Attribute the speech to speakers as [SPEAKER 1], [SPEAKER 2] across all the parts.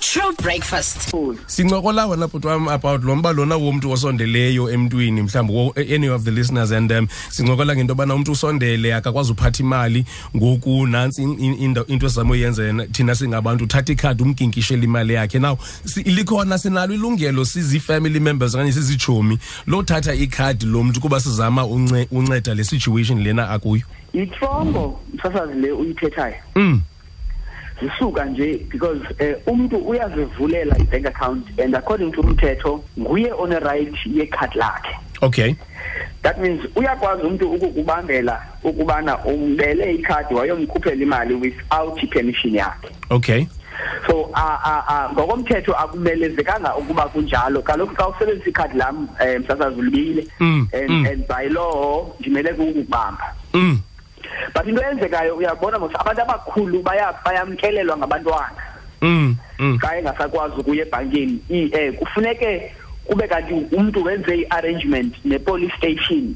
[SPEAKER 1] True breakfast.
[SPEAKER 2] sincokola wena bhuti wam about lo mba lona womntu osondeleyo emntwini mhlawumbi wo- eh, any of the listeners and um sincokola ngento yobana umntu usondele akakwazi uphatha imali ngoku nantsi in- in- into into esizama uyenza yena thina singabantu uthatha ikhadi umginkishele imali yakhe now si- likhona sinalo ilungelo sizi-family members okanye sizitshomi lothatha ikhadi lomntu kuba sizama unce- unceda le situation lena akuyo
[SPEAKER 3] yitrongo msasazi le uyithethayo
[SPEAKER 2] Mm.
[SPEAKER 3] zisuka nje because eh, umntu uyazivulela i-bank account and according to umthetho nguye oneright yekhadi lakhe
[SPEAKER 2] okay
[SPEAKER 3] that means uyakwazi umntu ukukubambela ukubana umbele ikhadi wayomkhuphela imali without ipermission yakhe
[SPEAKER 2] okay
[SPEAKER 3] so ah, ah, ah, ngokomthetho akumelezekanga ukuba kunjalo kaloku xa usebenzisa ikhadi lam um msasazi ulibile
[SPEAKER 2] Mm,
[SPEAKER 3] and,
[SPEAKER 2] mm.
[SPEAKER 3] and by law ndimeleke ukukubamba
[SPEAKER 2] mm.
[SPEAKER 3] but into eyenzekayo uyabona mos abantu abakhulu baya- bayamkelelwa ngabantwana
[SPEAKER 2] Mm. Mm.
[SPEAKER 3] xa engasakwazi ukuya ebhankini I- eh kufuneke kube kanti umntu wenze i-arrangement ne-police station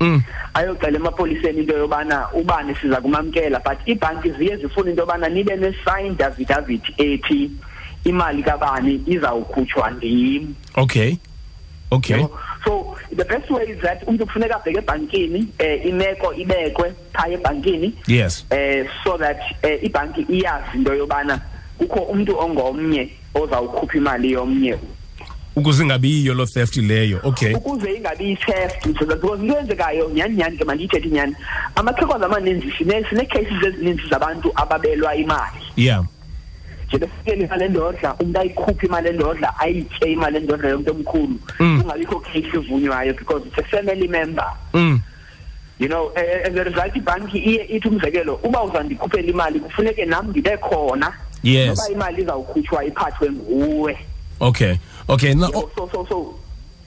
[SPEAKER 2] Mm.
[SPEAKER 3] ayocela emapoliseni into yobana ubani siza kumamkela but iibhanki ziye zifune into yobana nibe ne-sign davidavit ethi imali kabani izawukhutshwa ndim
[SPEAKER 2] okay okay
[SPEAKER 3] Yabo? so the best way is that umntu kufuneka abheke ebhankini um imeko ibekwe phaya ebhankini
[SPEAKER 2] yes
[SPEAKER 3] eh so that eh, ibhanki iyazi into yobana kukho umntu ongomnye ozawukhupha imali yomnye
[SPEAKER 2] ukuze ingabiyiyo loo theft leyo okay
[SPEAKER 3] ukuze ingabi yi-theft because into eyenzekayo nyhani nyhani ke mandiyithethe nyhani amaxhekoza amaninzi sine- sine-cases ezininzi zabantu ababelwa imali
[SPEAKER 2] yeah
[SPEAKER 3] njengefikele imali endodla umntu ayikhuphe imali endodla ayitye imali endodla yomntu omkhulu
[SPEAKER 2] Mm.
[SPEAKER 3] kungabikho case ivunywayo because it's a family member
[SPEAKER 2] mm.
[SPEAKER 3] you know eh, and the result ibhanki iye ithi umzekelo uba uzandikhuphela imali kufuneke nam ndibe khona
[SPEAKER 2] Yes.
[SPEAKER 3] noba imali izawukhutshwa iphathwe nguwe
[SPEAKER 2] okay okay na oh,
[SPEAKER 3] so so so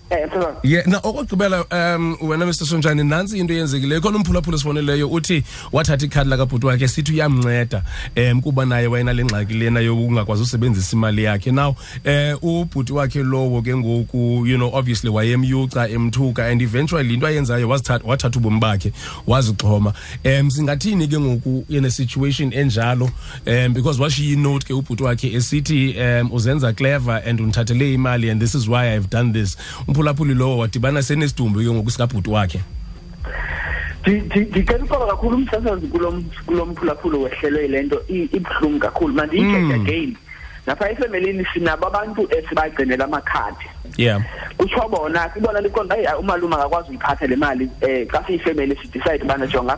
[SPEAKER 3] eh mfana,
[SPEAKER 2] ye na okokugqibela um wena mr sonjani nantsi into eyenzekileyo khona umphulaphula esifoneleyo uthi wathatha ikhadi lakabhuti wakhe sithi uyamnceda um kuba naye wayenale ngxaki lena yokungakwazi usebenzisa imali yakhe now um ubhuti wakhe lowo ke ngoku you know obviously wayemyuca emthuka and eventually into ayenzayo wazithatha- wathatha ubomi bakhe wazixhoma um singathini ke ngoku ene-situation enjalo um because washiya inote ke ubhuti wakhe esithi um uzenza clever and undithathele imali and this is why i've done this umphulaphuli lowo wadibana senesidumbu ke ngoku sikabhuti wakhe
[SPEAKER 3] ndi- ndi- ndicela uxolo kakhulu umsasazi kulo m- kulo mphulaphula wehlelwe yile nto i- ibuhlungu kakhulu mandiyithethe
[SPEAKER 2] Mm.
[SPEAKER 3] again napha efemelini sinabo abantu esibagcinela amakhadi
[SPEAKER 2] yeah
[SPEAKER 3] kutsho bona kubona liqonda hayi hayi, umalume akakwazi uyiphatha le mali um xa siyifemeli sidicide ubana jonga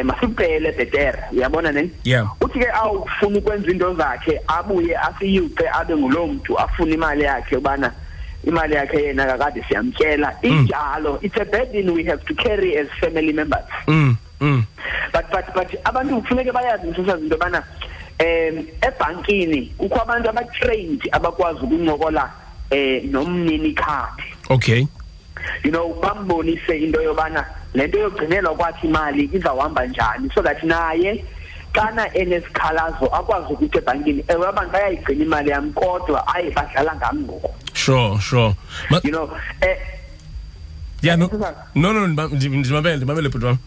[SPEAKER 3] um masikuqele bhetere uyabona ne
[SPEAKER 2] Yeah.
[SPEAKER 3] uthi ke awufuna ukwenza iinto zakhe abuye asiyuce abe nguloo mntu afune imali yakhe ubana imali yakhe yena kakade siyamtyela
[SPEAKER 2] Mm.
[SPEAKER 3] injalo it's a burden we have to carry as family members
[SPEAKER 2] mm, mm.
[SPEAKER 3] but but but abantu kufuneke bayazi msasazi into yobana um ebhankini kukho abantu abatrained abakwazi ukuncokola um nomnini khadi
[SPEAKER 2] okay
[SPEAKER 3] you know bambonise into yobana le nto yogcinelwa kwakhe imali izawuhamba njani so that naye xana enesikhalazo akwazi ukuthi ebhankini ewe abantu bayayigcina imali yam kodwa aye badlala ngam ngoku
[SPEAKER 2] sure sure Ma-
[SPEAKER 3] you know eh,
[SPEAKER 2] yeah, no, no no ndima- ndim- ndimamele ndimamele bhuti wam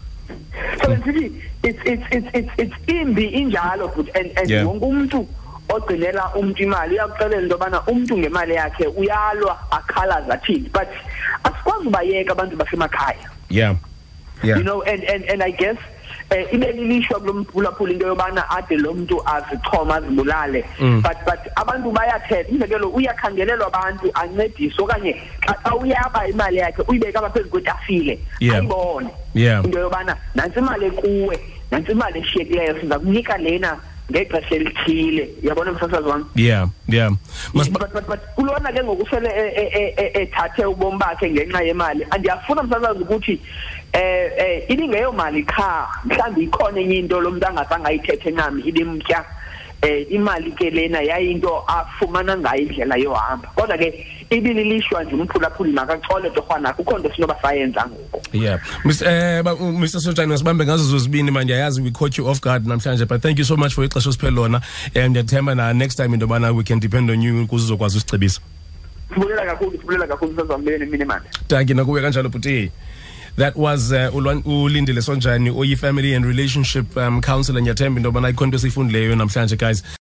[SPEAKER 3] so bendithi it's, it's, it's, it's, it's imbi injalo but and, and
[SPEAKER 2] Yeah.
[SPEAKER 3] wonke umntu ogcinela umntu imali uyakuxelela into yobana umntu ngemali yakhe uyalwa akhalaza athini but asikwazi ubayeka abantu basemakhaya
[SPEAKER 2] yeah yeah
[SPEAKER 3] you know and and and i guess eh ibe lilishwa kulomphulaphula into yobana ade lo mntu azixhoma azibulale
[SPEAKER 2] Mm.
[SPEAKER 3] but but abantu bayathetha umzekelo uyakhangelelwa abantu ancediswe okanye xa xa uyaba imali yakhe uyibeke apha phezu kwetafile
[SPEAKER 2] Yeah.
[SPEAKER 3] ayibone
[SPEAKER 2] Yeah.
[SPEAKER 3] into yobana nantsi imali ekuwe nantsi imali eshiyekileyo siza kunika lena ngexesha elithile uyabona msasazi wam
[SPEAKER 2] yeah yeah Masiba-
[SPEAKER 3] but but but kulona ke ngokusele e- e- e- e- ethathe ubomi bakhe ngenxa yemali andiyafuna msasazi ukuthi eh eh ibingeyo mali qha mhlambi ikhona enye into lo muntu angazange ayithethe nami ibimtya eh imali ke lena yayinto afumana ngayo indlela yohamba kodwa ke ibililishwa nje umphulaphuli makachole torhwana kukho nto sinoba sayenza ngoku
[SPEAKER 2] yeah Mr. eh, ba- u- mr sontjani masibambe ngazo zozibini man ndiyayazi we caught you off guard namhlanje but thank you so much for ixesha osiphe lona um ndiyathemba na next time into yobana we can depend on you ukuze uzokwazi usicebisa
[SPEAKER 3] sibulela kakhulu sibulela kakhulu msasazi wam mini manje
[SPEAKER 2] tanki nakuwe kanjalo bhuti that was uh, Ulwan- ulindile sonjani oyi-family and relationship um, counselor ndiyathemba into yobana ikhonto esiyifundileyo namhlanje guys